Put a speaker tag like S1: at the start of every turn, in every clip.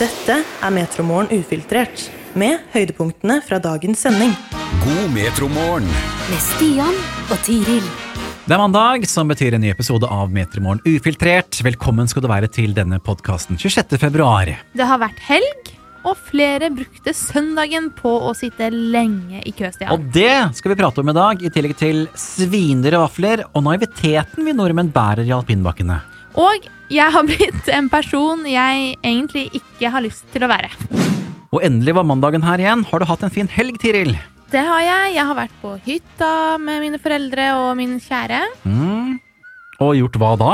S1: Dette er Metromorgen ufiltrert, med høydepunktene fra dagens sending.
S2: God metromorgen.
S3: med Stian og Tiril.
S4: Det er mandag, som betyr en ny episode av Metermorgen ufiltrert. Velkommen skal du være til denne podkasten 26. februar.
S5: Det har vært helg, og flere brukte søndagen på å sitte lenge i kø. Stian.
S4: Og det skal vi prate om i dag, i tillegg til svindyre vafler og naiviteten vi nordmenn bærer i alpinbakkene.
S5: Og jeg har blitt en person jeg egentlig ikke har lyst til å være.
S4: Og endelig var mandagen her igjen. Har du hatt en fin helg, Tiril?
S5: Det har jeg. Jeg har vært på hytta med mine foreldre og min kjære.
S4: Mm. Og gjort hva da?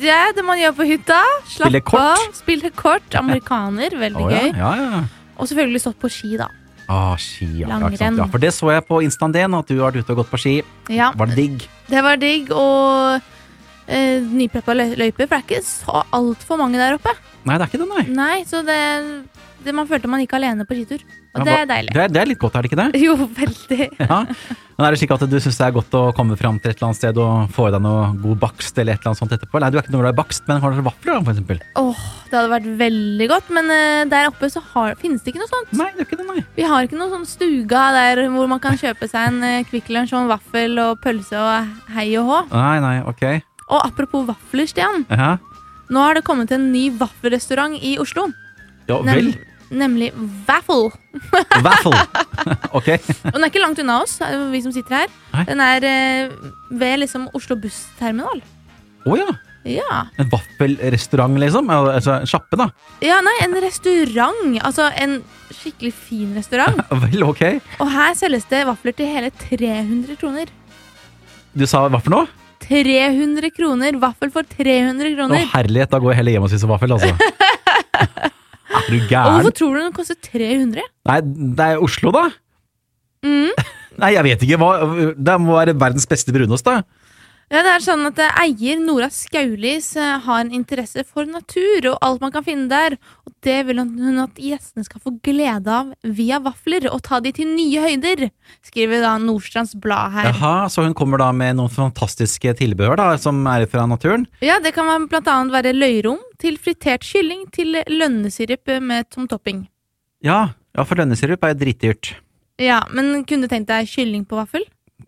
S5: Det er det man gjør på hytta.
S4: Spille
S5: Slappe
S4: kort.
S5: av. Spille kort. Amerikaner. Veldig
S4: Å, ja,
S5: gøy.
S4: ja, ja.
S5: Og selvfølgelig stått på ski, da.
S4: Ah, ski, ja. ja, ikke sant.
S5: Langrenn.
S4: ja. For det så jeg på instaen din, at du har vært ute og gått på ski.
S5: Ja,
S4: Var det digg?
S5: Det var digg. Og eh, nypreppa lø- løyper, for det er ikke så altfor mange der oppe.
S4: Nei, det er ikke det, nei.
S5: Nei, så det, det Man følte man gikk alene på skitur. Og
S4: Ja,
S5: det
S4: hva-
S5: er deilig.
S4: Det er, det er litt godt, er det ikke det?
S5: Jo, veldig.
S4: Ja. Men er det slik at du syns det er godt å komme fram til et eller annet sted og få i deg noe god bakst eller et eller annet sånt etterpå? Nei, du er ikke noe glad i bakst, men har du vafler da, for eksempel?
S5: Åh, det hadde vært veldig godt, men eh, der oppe så har, finnes det ikke noe sånt.
S4: Nei, det er ikke det, nei.
S5: Vi har ikke noen sånn stuga der hvor man kan kjøpe seg en eh, Kvikk Lunsj og en vaffel og pølse og hei og hå.
S4: Nei, nei, ok.
S5: Og apropos vafler, Stian.
S4: Ja,
S5: Nå har det kommet en ny vaffelrestaurant i Oslo.
S4: ja vel.
S5: Nem- nemlig Waffle.
S4: Waffle. ok.
S5: Og den er ikke langt unna oss, eh, vi som sitter her.
S4: Nei.
S5: Den er eh, ved liksom Oslo bussterminal.
S4: Å ja.
S5: Ja.
S4: En vaffelrestaurant, liksom? Al- Altså en sjappe, da?
S5: Ja, nei, en restaurant. Altså en skikkelig fin restaurant.
S4: Vel, ok.
S5: Og her selges det vafler til hele 300 kroner.
S4: Du sa hva for noe?
S5: 300 kroner! Vaffel for 300
S4: Å
S5: kroner.
S4: herlighet, da går jeg heller hjem og spiser vaffel, altså. er du
S5: Og
S4: gæren?
S5: hvorfor tror du den koster 300?
S4: Nei, det er Oslo, da.
S5: Mm.
S4: Nei, jeg vet ikke. Hva, det må være verdens beste brunost, da.
S5: Ja, det er sånn at eh, Eier Nora Skaulis eh, har en interesse for natur og alt man kan finne der. Og Det vil hun at gjestene skal få glede av via vafler, og ta de til nye høyder, skriver da Nordstrands Blad her.
S4: Jaha, så hun kommer da med noen fantastiske tilbehør da, som er fra naturen.
S5: Ja, det kan være- blant annet være løyrom til fritert kylling til lønnesirup med tom topping.
S4: Ja, ja for lønnesirup er jo dritdyrt.
S5: Ja, men kunne du tenkt deg kylling på vaffel?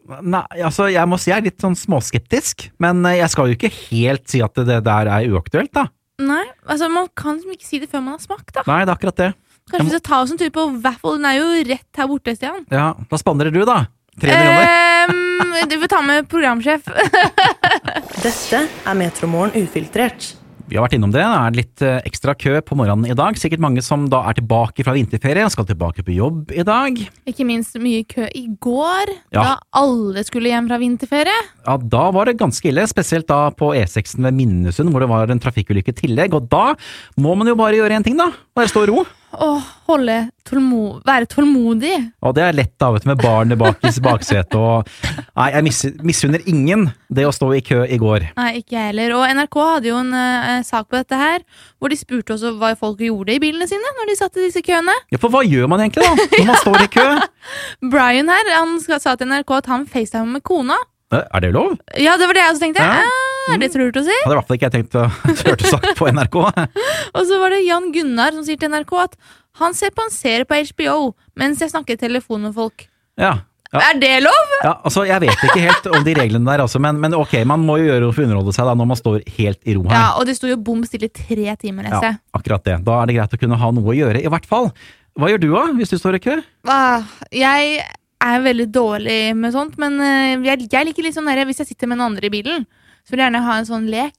S4: Nei, altså jeg må si jeg er litt sånn småskeptisk, men eh, jeg skal jo ikke helt si at det der er uaktuelt da.
S5: Nei, altså man kan liksom ikke si det før man har smakt, da.
S4: Nei, det er akkurat det.
S5: Kanskje vi skal ta oss en tur på vaffel? Den er jo rett her borte, Stian.
S4: Ja, da spanderer du da.
S5: Eh.
S4: 300 kroner.
S5: Ehm, du får ta med programsjef.
S1: Dette er Metromorgen ufiltrert.
S4: Vi har vært innom det. Det er litt eh, ekstra kø på morgenen i dag. Sikkert mange som da er tilbake fra vinterferie, skal tilbake på jobb i dag.
S5: Ikke minst mye kø i går,
S4: Ja.
S5: da alle skulle hjem fra vinterferie.
S4: Ja, da var det ganske ille, spesielt da på E6-en ved Minnesund, hvor det var en trafikkulykke i tillegg. Og da må man jo bare gjøre en ting da, bare stå og ro.
S5: Å holde tålmo være tålmodig.
S4: Og det er lett da, vet du, med barn bak i baksetet og Nei, jeg mis- misunner ingen det å stå i kø i går.
S5: Nei, ikke jeg heller. Og NRK hadde jo en eh, sak på dette her, hvor de spurte også hva folk gjorde i bilene sine når de satt i disse køene.
S4: Ja, For hva gjør man egentlig da, når man står i kø?
S5: Brian her, han skal, sa til NRK at han facetimer med kona.
S4: Eh, Er det lov?
S5: Ja, det var det jeg også tenkte.
S4: Ja.
S5: Eh, Er det
S4: Mm.
S5: så lurt å si?
S4: Hadde i hvert fall ikke jeg tenkt å hørte sagt på NRK.
S5: Og så var det Jan Gunnar som sier til NRK at han ser på en serie på HBO mens jeg snakker i telefon med folk.
S4: Ja. Ja,
S5: Er det lov?
S4: ja, altså Jeg vet ikke helt om de reglene der, altså, men, men ok, man må jo gjøre noe for å underholde seg da når man står helt i ro her.
S5: Ja, og det sto jo bom stille i tre timer, leste
S4: Ja,
S5: jeg.
S4: akkurat det. Da er det greit å kunne ha noe å gjøre, i hvert fall. Hva gjør du da, hvis du står i kø?
S5: Ah, Jeg er veldig dårlig med sånt, men eh, jeg, jeg liker litt sånn der, hvis jeg sitter med noen andre i bilen, så vil jeg gjerne ha en sånn lek.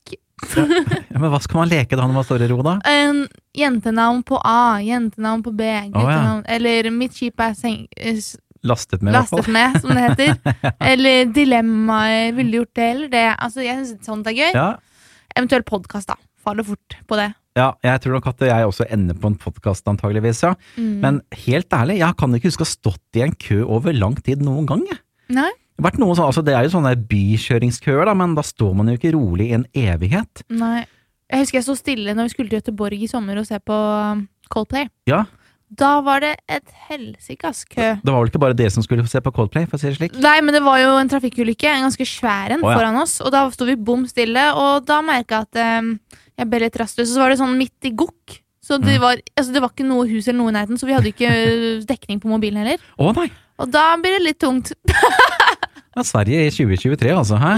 S4: Ja, men Hva skal man leke da når man står i ro, da?
S5: En jentenavn på A, jentenavn på B, guttenavn Eller mitt skip er seng, eh, s-
S4: Lastet med, i hvert fall.
S5: lastet med, som det heter. Eller dilemmaer, ville du gjort det eller det? Altså, jeg syns sånt er gøy.
S4: Ja,
S5: Eventuelt podkast, da. Faller fort på det.
S4: Ja, jeg tror nok at jeg også ender på en podkast antageligvis, ja.
S5: Mm.
S4: Men helt ærlig, jeg kan ikke huske å ha stått i en kø over lang tid noen gang, jeg.
S5: Nei,
S4: Det, har vært noen sånn, altså det er jo sånne bykjøringskøer, da, men da står man jo ikke rolig i en evighet.
S5: nei. Jeg husker jeg sto stille når vi skulle til Gøteborg i sommer og se på um, Coldplay.
S4: Ja,
S5: Da var det et helsikas kø.
S4: Det var vel ikke bare det som skulle se på Coldplay, for å si det slik.
S5: Nei, men det var jo en trafikkulykke, en ganske svær en,
S4: Å, ja.
S5: foran oss. Og da ehm, sto vi bom stille, og da merka jeg at um, jeg ble litt rastløs. Og så var det sånn midt i gokk, Så det
S4: Mm.
S5: var, altså, det var ikke noe hus eller noe i nærheten, så vi hadde ikke eh, dekning på mobilen heller.
S4: Å nei!
S5: Og da blir det litt tungt.
S4: Ja, Sverige i 2023, altså. Hæ?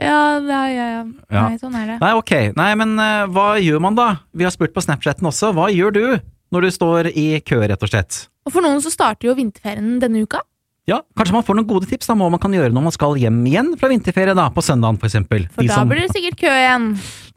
S5: Ja, ja, ja, ja.
S4: Ja.
S5: Nei, sånn er det.
S4: Nei, ok. Nei, men eh, hva gjør man da? Vi har spurt på Snapchatten også. Hva gjør du når du står i kø, rett og slett?
S5: Og for noen så starter jo vinterferien denne uka.
S4: Ja, Kanskje man får noen gode tips da, om hva man kan gjøre når man skal hjem igjen fra vinterferie da, på søndagen f.eks.
S5: For da blir det sikkert kø igjen.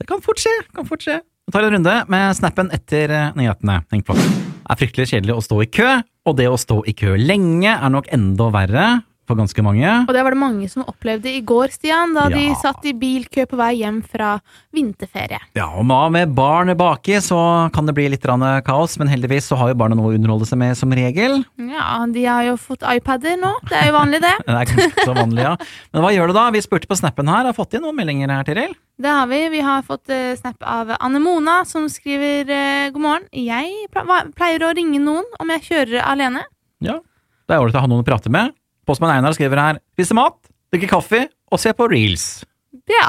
S4: Det kan fort skje. kan fort skje. Vi tar en runde med snappen etter eh, nyhetene. Tenk på. Det er fryktelig kjedelig å stå i kø, og det å stå i kø lenge er nok enda verre for ganske mange.
S5: Og det var det mange som opplevde i går, Stian, da de
S4: Ja.
S5: satt i bilkø på vei hjem fra vinterferie.
S4: Ja, og ma- med barn baki så kan det bli litt grann, eh, kaos, men heldigvis så har jo barna noe å underholde seg med som regel.
S5: Ja, de har jo fått iPader nå. Det er jo vanlig, det.
S4: Det er ganske så vanlig, ja. Men hva gjør du da? Vi spurte på snappen her, har fått inn noen meldinger her, Tiril?
S5: Det har vi. Vi har fått eh, snap av Anne Mona, som skriver eh, god morgen. Jeg pla- hva- pleier å ringe noen om jeg kjører alene.
S4: Ja. Det er ålreit å ha noen å prate med. Postmann Einar skriver her spiser mat, drikker kaffe og ser på reels.
S5: Ja.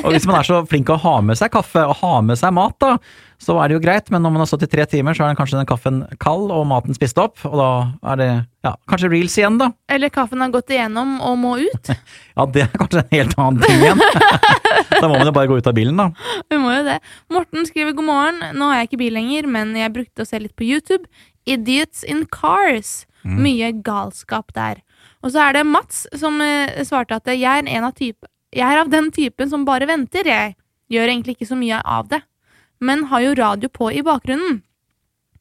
S4: Og hvis man er så flink å ha med seg kaffe og ha med seg mat, da, så er det jo greit, men når man har stått i tre timer, så er den kanskje den kaffen kald og maten spist opp, og da er det ja, kanskje reels igjen, da.
S5: Eller kaffen har gått igjennom og må ut.
S4: Ja, det er kanskje en helt annen ting igjen. da må man jo bare gå ut av bilen, da.
S5: Vi må jo det. Morten skriver god morgen. Nå har jeg ikke bil lenger, men jeg brukte å se litt på YouTube. Idiots in cars. Mye galskap der. Og så er det Mats som eh, svarte at jeg er, en av type, jeg er av den typen som bare venter, jeg. Gjør egentlig ikke så mye av det. Men har jo radio på i bakgrunnen.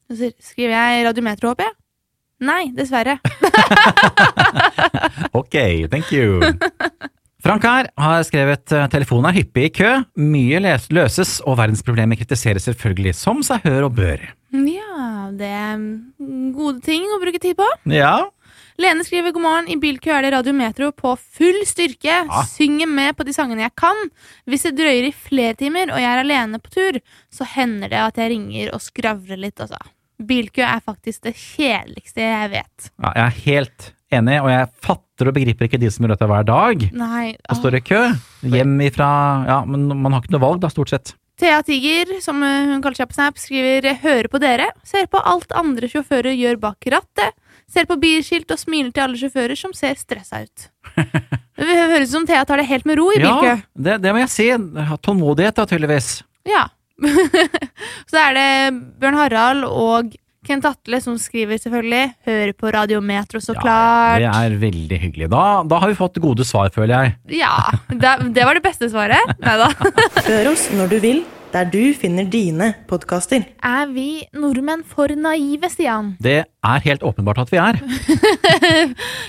S5: Så sier- skriver jeg radiometer, håper jeg? Nei, dessverre.
S4: Ok, thank you. Frank her har skrevet eh, telefonen er hyppig i kø, mye les løses og verdensproblemet kritiseres selvfølgelig som seg hør og bør.
S5: Ja, det er mm, gode ting å bruke tid på.
S4: Ja,
S5: Lene skriver god morgen. I bilkø er det Radio Metro på full styrke. Synger med på de sangene jeg kan. Hvis det drøyer i flere timer og jeg er alene på tur, så hender det at jeg ringer og skravler litt, altså. Bilkø er faktisk det kjedeligste jeg vet.
S4: ja jeg er helt enig, og jeg fatter og begriper ikke de som gjør dette hver dag.
S5: Nei.
S4: Og står i kø, hjem ifra, ja, men man har ikke noe valg da, stort sett.
S5: Thea Tiger, som eh, hun kaller seg på Snap, skriver hører på dere. Ser på alt andre sjåfører gjør bak rattet. Ser på bilskilt og smiler til alle sjåfører som ser stressa ut. Det høres ut som Thea tar det helt med ro i bilkø.
S4: Ja, det, det må jeg si. Tålmodighet da, tydeligvis.
S5: Ja. så er det Bjørn Harald og Kent Atle som skriver, selvfølgelig. Hører på Radiometro, så
S4: Ja,
S5: klart.
S4: Det er veldig hyggelig. Da, da har vi fått gode svar, føler jeg.
S5: Ja, det, det var det beste svaret. Nei da.
S1: Hør oss når du vil, der du finner dine podkaster.
S5: Er vi nordmenn for naive, Stian?
S4: Det er helt åpenbart at vi er.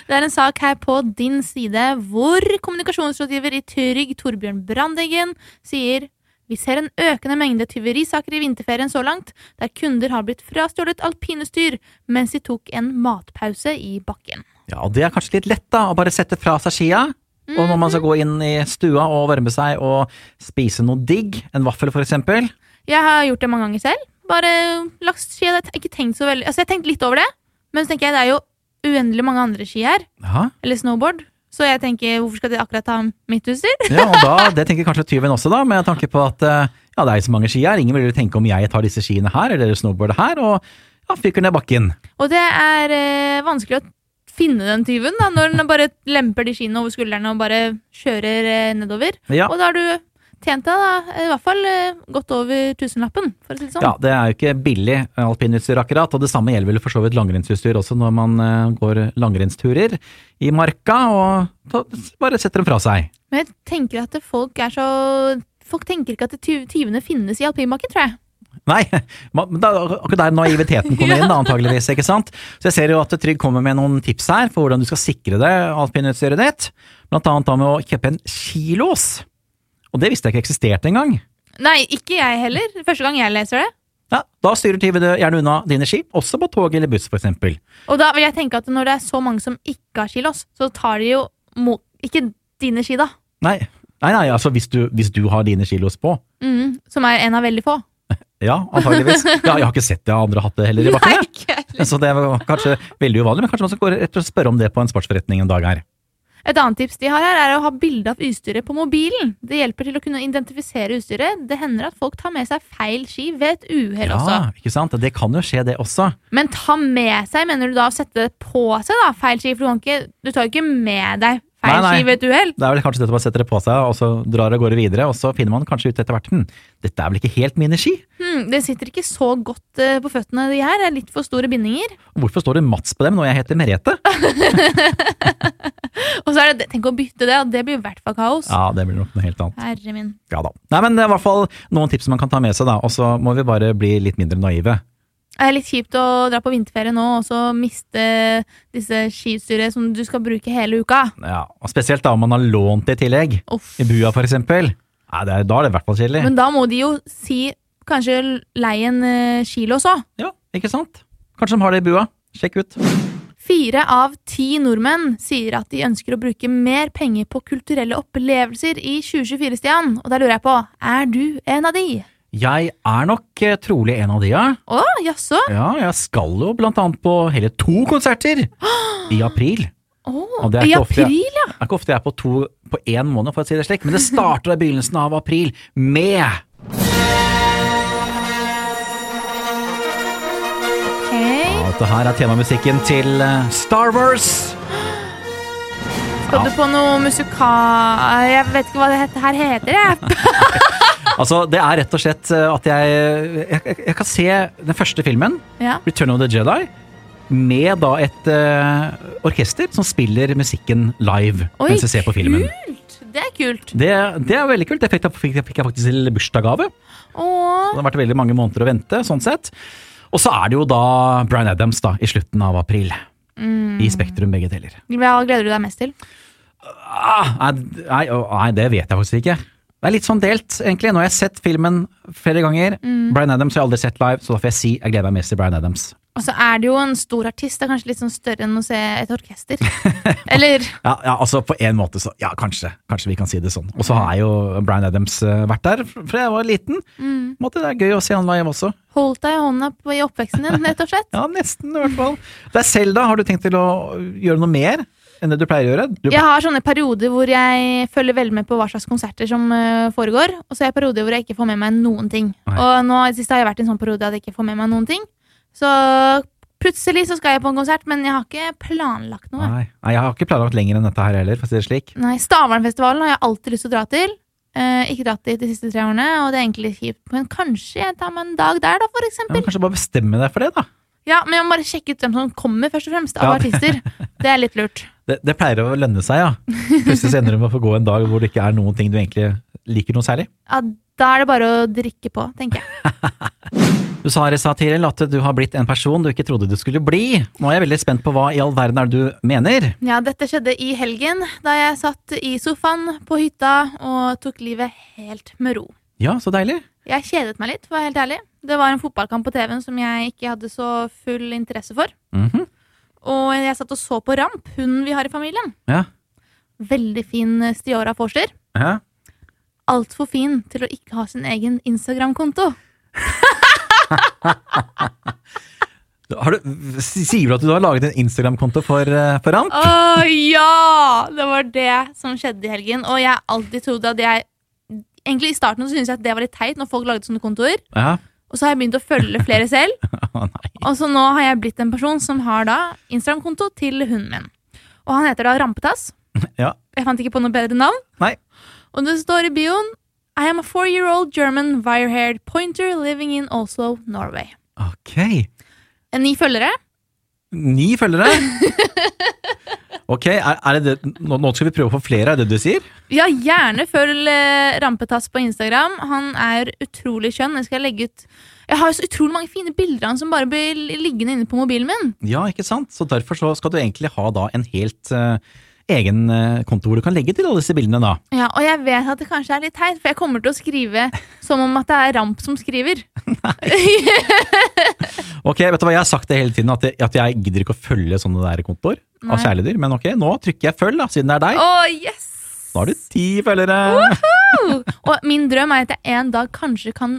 S5: Det er en sak her på din side hvor kommunikasjonsrådgiver i Trygg, Torbjørn Brandeggen, sier vi ser en økende mengde tyverisaker i vinterferien så langt, der kunder har blitt frastjålet alpinestyr mens de tok en matpause i bakken.
S4: Ja, og det er kanskje litt lett da, å bare sette fra seg skia. Og når man skal gå inn i stua og varme seg og spise noe digg, en vaffel for eksempel.
S5: Jeg har gjort det mange ganger selv. Bare lagt ski. Jeg har ikke tenkt så veldig Altså, jeg tenkte litt over det, men så tenker jeg det er jo uendelig mange andre ski her.
S4: Ja,
S5: Eller snowboard. Så jeg tenker, hvorfor skal de akkurat ta mitt utstyr?
S4: ja og da, det tenker kanskje tyven også da, med tanke på at eh, ja, det er så mange ski her. Ingen vil jo tenke om jeg tar disse skiene her, eller snowboardet her, og ja, fyker ned bakken.
S5: Og det er eh, vanskelig å finne den tyven, da, når den bare lemper de skiene over skuldrene og bare kjører eh, nedover.
S4: Ja.
S5: Og da har du tjent deg, da, i hvert fall eh, godt over tusenlappen, for å si det sånn.
S4: Ja, det er jo ikke billig eh, alpinutstyr akkurat, og det samme gjelder vel for så vidt langrennsutstyr også når man eh, går langrennsturer i marka og ta, bare setter dem fra seg.
S5: Men jeg tenker at folk er så Folk tenker ikke at ty- tyvene finnes i alpinbakken, tror jeg.
S4: Nei, ma- men da, akkurat der naiviteten kommer inn da, antageligvis, ikke sant? Så jeg ser jo at Trygg kommer med noen tips her for hvordan du skal sikre deg alpinutstyret ditt, blant annet da med å kjøpe en kilås. Og det visste jeg ikke eksisterte engang.
S5: Nei, ikke jeg heller. Første gang jeg leser det.
S4: Ja, da styrer tyven gjerne unna dine ski, også på tog eller buss for eksempel.
S5: Og da vil jeg tenke at når det er så mange som ikke har skilås, så tar de jo mo ikke dine ski, da.
S4: Nei, nei, nei altså hvis du, hvis du har dine kilås på,
S5: Mm, som er en av veldig få.
S4: Ja, antageligvis. Ja, jeg har ikke sett det av andre hatt det heller i bakkene.
S5: ikke jeg heller.
S4: Så det var kanskje veldig uvanlig, men kanskje man skal gå rett og spørre om det på en sportsforretning en dag her.
S5: Et annet tips de har her, er å ha bilde av utstyret på mobilen. Det hjelper til å kunne identifisere utstyret. Det hender at folk tar med seg feil ski ved et uhell også.
S4: Ja, ikke sant? Det kan jo skje, det også.
S5: Men ta med seg, mener du da å sette på seg da, feil ski? For du, kan ikke, du tar jo ikke med deg feil
S4: Nei, nei.
S5: ski ved et uhell.
S4: Det er vel kanskje dette man setter det på seg, og så drar og går videre, og så finner man kanskje ut etter hvert hm, Dette er vel ikke helt mine ski?
S5: Hmm, det sitter ikke så godt eh, på føttene, de her. Det er Litt for store bindinger.
S4: Hvorfor står det Mats på dem når jeg heter Merete?
S5: Og så er det, tenk å bytte det, og det blir i hvert fall kaos.
S4: Ja, det blir nok noe helt annet.
S5: Herre min.
S4: Ja da. Nei, men det er i hvert fall noen tips man kan ta med seg, da. Og så må vi bare bli litt mindre naive.
S5: Det er litt kjipt å dra på vinterferie nå og så miste disse skiutstyret som du skal bruke hele uka.
S4: Ja, og Spesielt da om man har lånt det i tillegg.
S5: Uff.
S4: I bua, for eksempel. Nei, det er, da er det i hvert fall kjedelig.
S5: Men da må de jo si kanskje leie en eh, skilås òg.
S4: Ja, ikke sant? Kanskje de har det i bua. Sjekk ut.
S5: Fire av ti nordmenn sier at de ønsker å bruke mer penger på kulturelle opplevelser i 2024, Stian. Og da lurer jeg på, er du en av de?
S4: Jeg er nok eh, trolig en av de, ja.
S5: Å, jaså?
S4: Ja, jeg skal jo blant annet på hele to konserter i april.
S5: Å,
S4: Og det er
S5: I
S4: ikke ofte-
S5: april, ja.
S4: Det er ikke ofte jeg er på to på én måned, for å si det slik, men det starter i begynnelsen av april med
S5: Ok.
S4: Og Dette her er temamusikken til eh, Star Wars.
S5: Skal du på noe musika... Jeg vet ikke hva det heter. her heter, jeg.
S4: Altså, det er rett og slett eh, at jeg Jeg, jeg, jeg kan se den første filmen,
S5: Ja.
S4: Return of the Jedi, med da et eh, orkester som spiller musikken live
S5: Oi,
S4: mens jeg ser på filmen.
S5: kult! Det er kult.
S4: Det, det er veldig kult. Det fikk jeg, fikk jeg- fikk jeg faktisk til bursdagsgave.
S5: Åh.
S4: Det har vært veldig mange måneder å vente, sånn sett. Og så er det jo da Bryan Adams da, i slutten av april.
S5: Mm.
S4: I Spektrum, begge deler.
S5: Hva gleder du deg mest til?
S4: Ah, nei, nei, å, nei, det vet jeg faktisk ikke. Det er litt sånn delt, egentlig. Nå har jeg sett filmen flere ganger. Bryan Adams har jeg aldri sett live, så da får jeg si jeg gleder meg mest til Bryan Adams.
S5: Og så er det jo en stor artist. Det er kanskje litt sånn større enn å se et orkester. Eller
S4: Ja, ja, altså på en måte så Ja, kanskje. Kanskje vi kan si det sånn. Og så har jo Bryan Adams eh, vært der fra jeg var liten. På en Måte, det er gøy å se han live også.
S5: holdt deg i hånda på, i oppveksten din, rett og slett.
S4: Ja, nesten i hvert fall. Det er Selda. Har du tenkt til å gjøre noe mer enn det du pleier å gjøre? Du,
S5: Jeg har sånne perioder hvor jeg følger veldig med på hva slags konserter som eh, foregår, og så er det perioder hvor jeg ikke får med meg noen ting.
S4: Nei.
S5: Og nå i det siste har jeg vært i en sånn periode at jeg ikke får med meg noen ting. Så plutselig så skal jeg på en konsert, men jeg har ikke planlagt noe.
S4: Nei. Nei, jeg har ikke planlagt lenger enn dette her heller, for å si det slik.
S5: Nei, Stavernfestivalen har jeg alltid lyst til å dra til. Eh, ikke dratt dit de siste tre årene, og det er egentlig litt kjipt. Men kanskje jeg tar meg en dag der, da, for
S4: Ja, men
S5: eksempel.
S4: kanskje bare bestemme deg for det, da.
S5: Ja, men jeg må bare sjekke ut hvem som kommer, først og fremst, av
S4: Ja.
S5: artister. Det er litt lurt.
S4: Det, det pleier å lønne seg, ja. Plutselig så ender du med å få gå en dag hvor det ikke er noen ting du egentlig liker noe særlig.
S5: Ja, da er det bare å drikke på, tenker jeg.
S4: Du sa her i stad, Tiril, at du har blitt en person du ikke trodde du skulle bli. Nå er jeg veldig spent på hva i all verden er det du mener.
S5: Ja, dette skjedde i helgen, da jeg satt i sofaen på hytta og tok livet helt med ro.
S4: Ja, så deilig.
S5: Jeg kjedet meg litt, for å være helt ærlig. Det var en fotballkamp på TV-en som jeg ikke hadde så full interesse for.
S4: Mhm.
S5: Og jeg satt og så på Ramp, hunden vi har i familien.
S4: Ja.
S5: Veldig fin eh, Stiora Forster.
S4: ja.
S5: Altfor fin til å ikke ha sin egen Instagram-konto.
S4: Har du, s- sier du at du har laget en Instagram-konto for, eh, for Ramp?
S5: Å ja! Det var det som skjedde i helgen. Og jeg alltid trodde at jeg Egentlig I starten så syntes jeg at det var litt teit når folk lagde sånne kontoer.
S4: Ja.
S5: Og så har jeg begynt å følge flere selv.
S4: Å, nei.
S5: Og så nå har jeg blitt en person som har da Instagram-konto til hunden min. Og han heter da Rampetass.
S4: Ja.
S5: Jeg fant ikke på noe bedre navn.
S4: Nei.
S5: Og det står i bioen I am a four-year-old German wire-haired pointer living in Oslo, Norway.
S4: Ok.
S5: Ni følgere.
S4: Ni følgere? Ok, er, er det det? Nå, nå skal vi prøve å få flere, er det det du sier?
S5: Ja, gjerne følg eh, Rampetass på Instagram. Han er utrolig skjønn. Jeg skal legge ut Jeg har jo så utrolig mange fine bilder av han som bare blir liggende inne på mobilen min.
S4: Ja, ikke sant? Så derfor så skal du egentlig ha da en helt eh, egen eh, konto hvor du kan legge til alle disse bildene da.
S5: Ja, Og jeg vet at det kanskje er litt teit, for jeg kommer til å skrive som om at det er Ramp som skriver.
S4: Ok, vet du hva, jeg har sagt det hele tiden at jeg, at jeg gidder ikke å følge sånne der kontoer av
S5: Nei.
S4: kjæledyr, men ok, nå trykker jeg følg da, siden det er deg.
S5: Å, yes!
S4: Da har du ti følgere.
S5: Oh. Og min drøm er at jeg en dag kanskje kan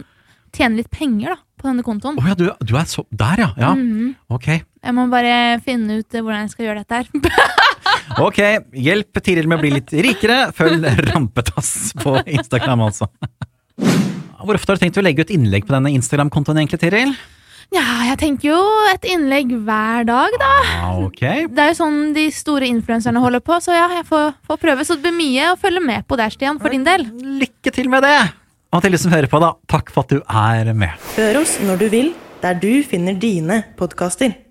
S5: tjene litt penger da, på denne kontoen.
S4: Åja, du, du er
S5: Mhm.
S4: så, der ja, ja. Ok,
S5: Jeg må bare finne ut eh, hvordan jeg skal gjøre dette her.
S4: Ok, hjelp Tiril med å bli litt rikere. Følg Rampetass på Instagram, altså. Hvor ofte har du tenkt å legge ut innlegg på denne Instagram-kontoen egentlig, Tiril?
S5: Ja, jeg tenker jo et innlegg hver dag, da.
S4: Ja, Ah, ok.
S5: Det er jo sånn de store influenserne holder på, så ja, jeg får, får prøve. Så det blir mye å følge med på der, Stian, for din del.
S4: Lykke til med det! Og til de som hører på, da, takk for at du er med.
S1: Hør oss når du vil, der du finner dine podkaster.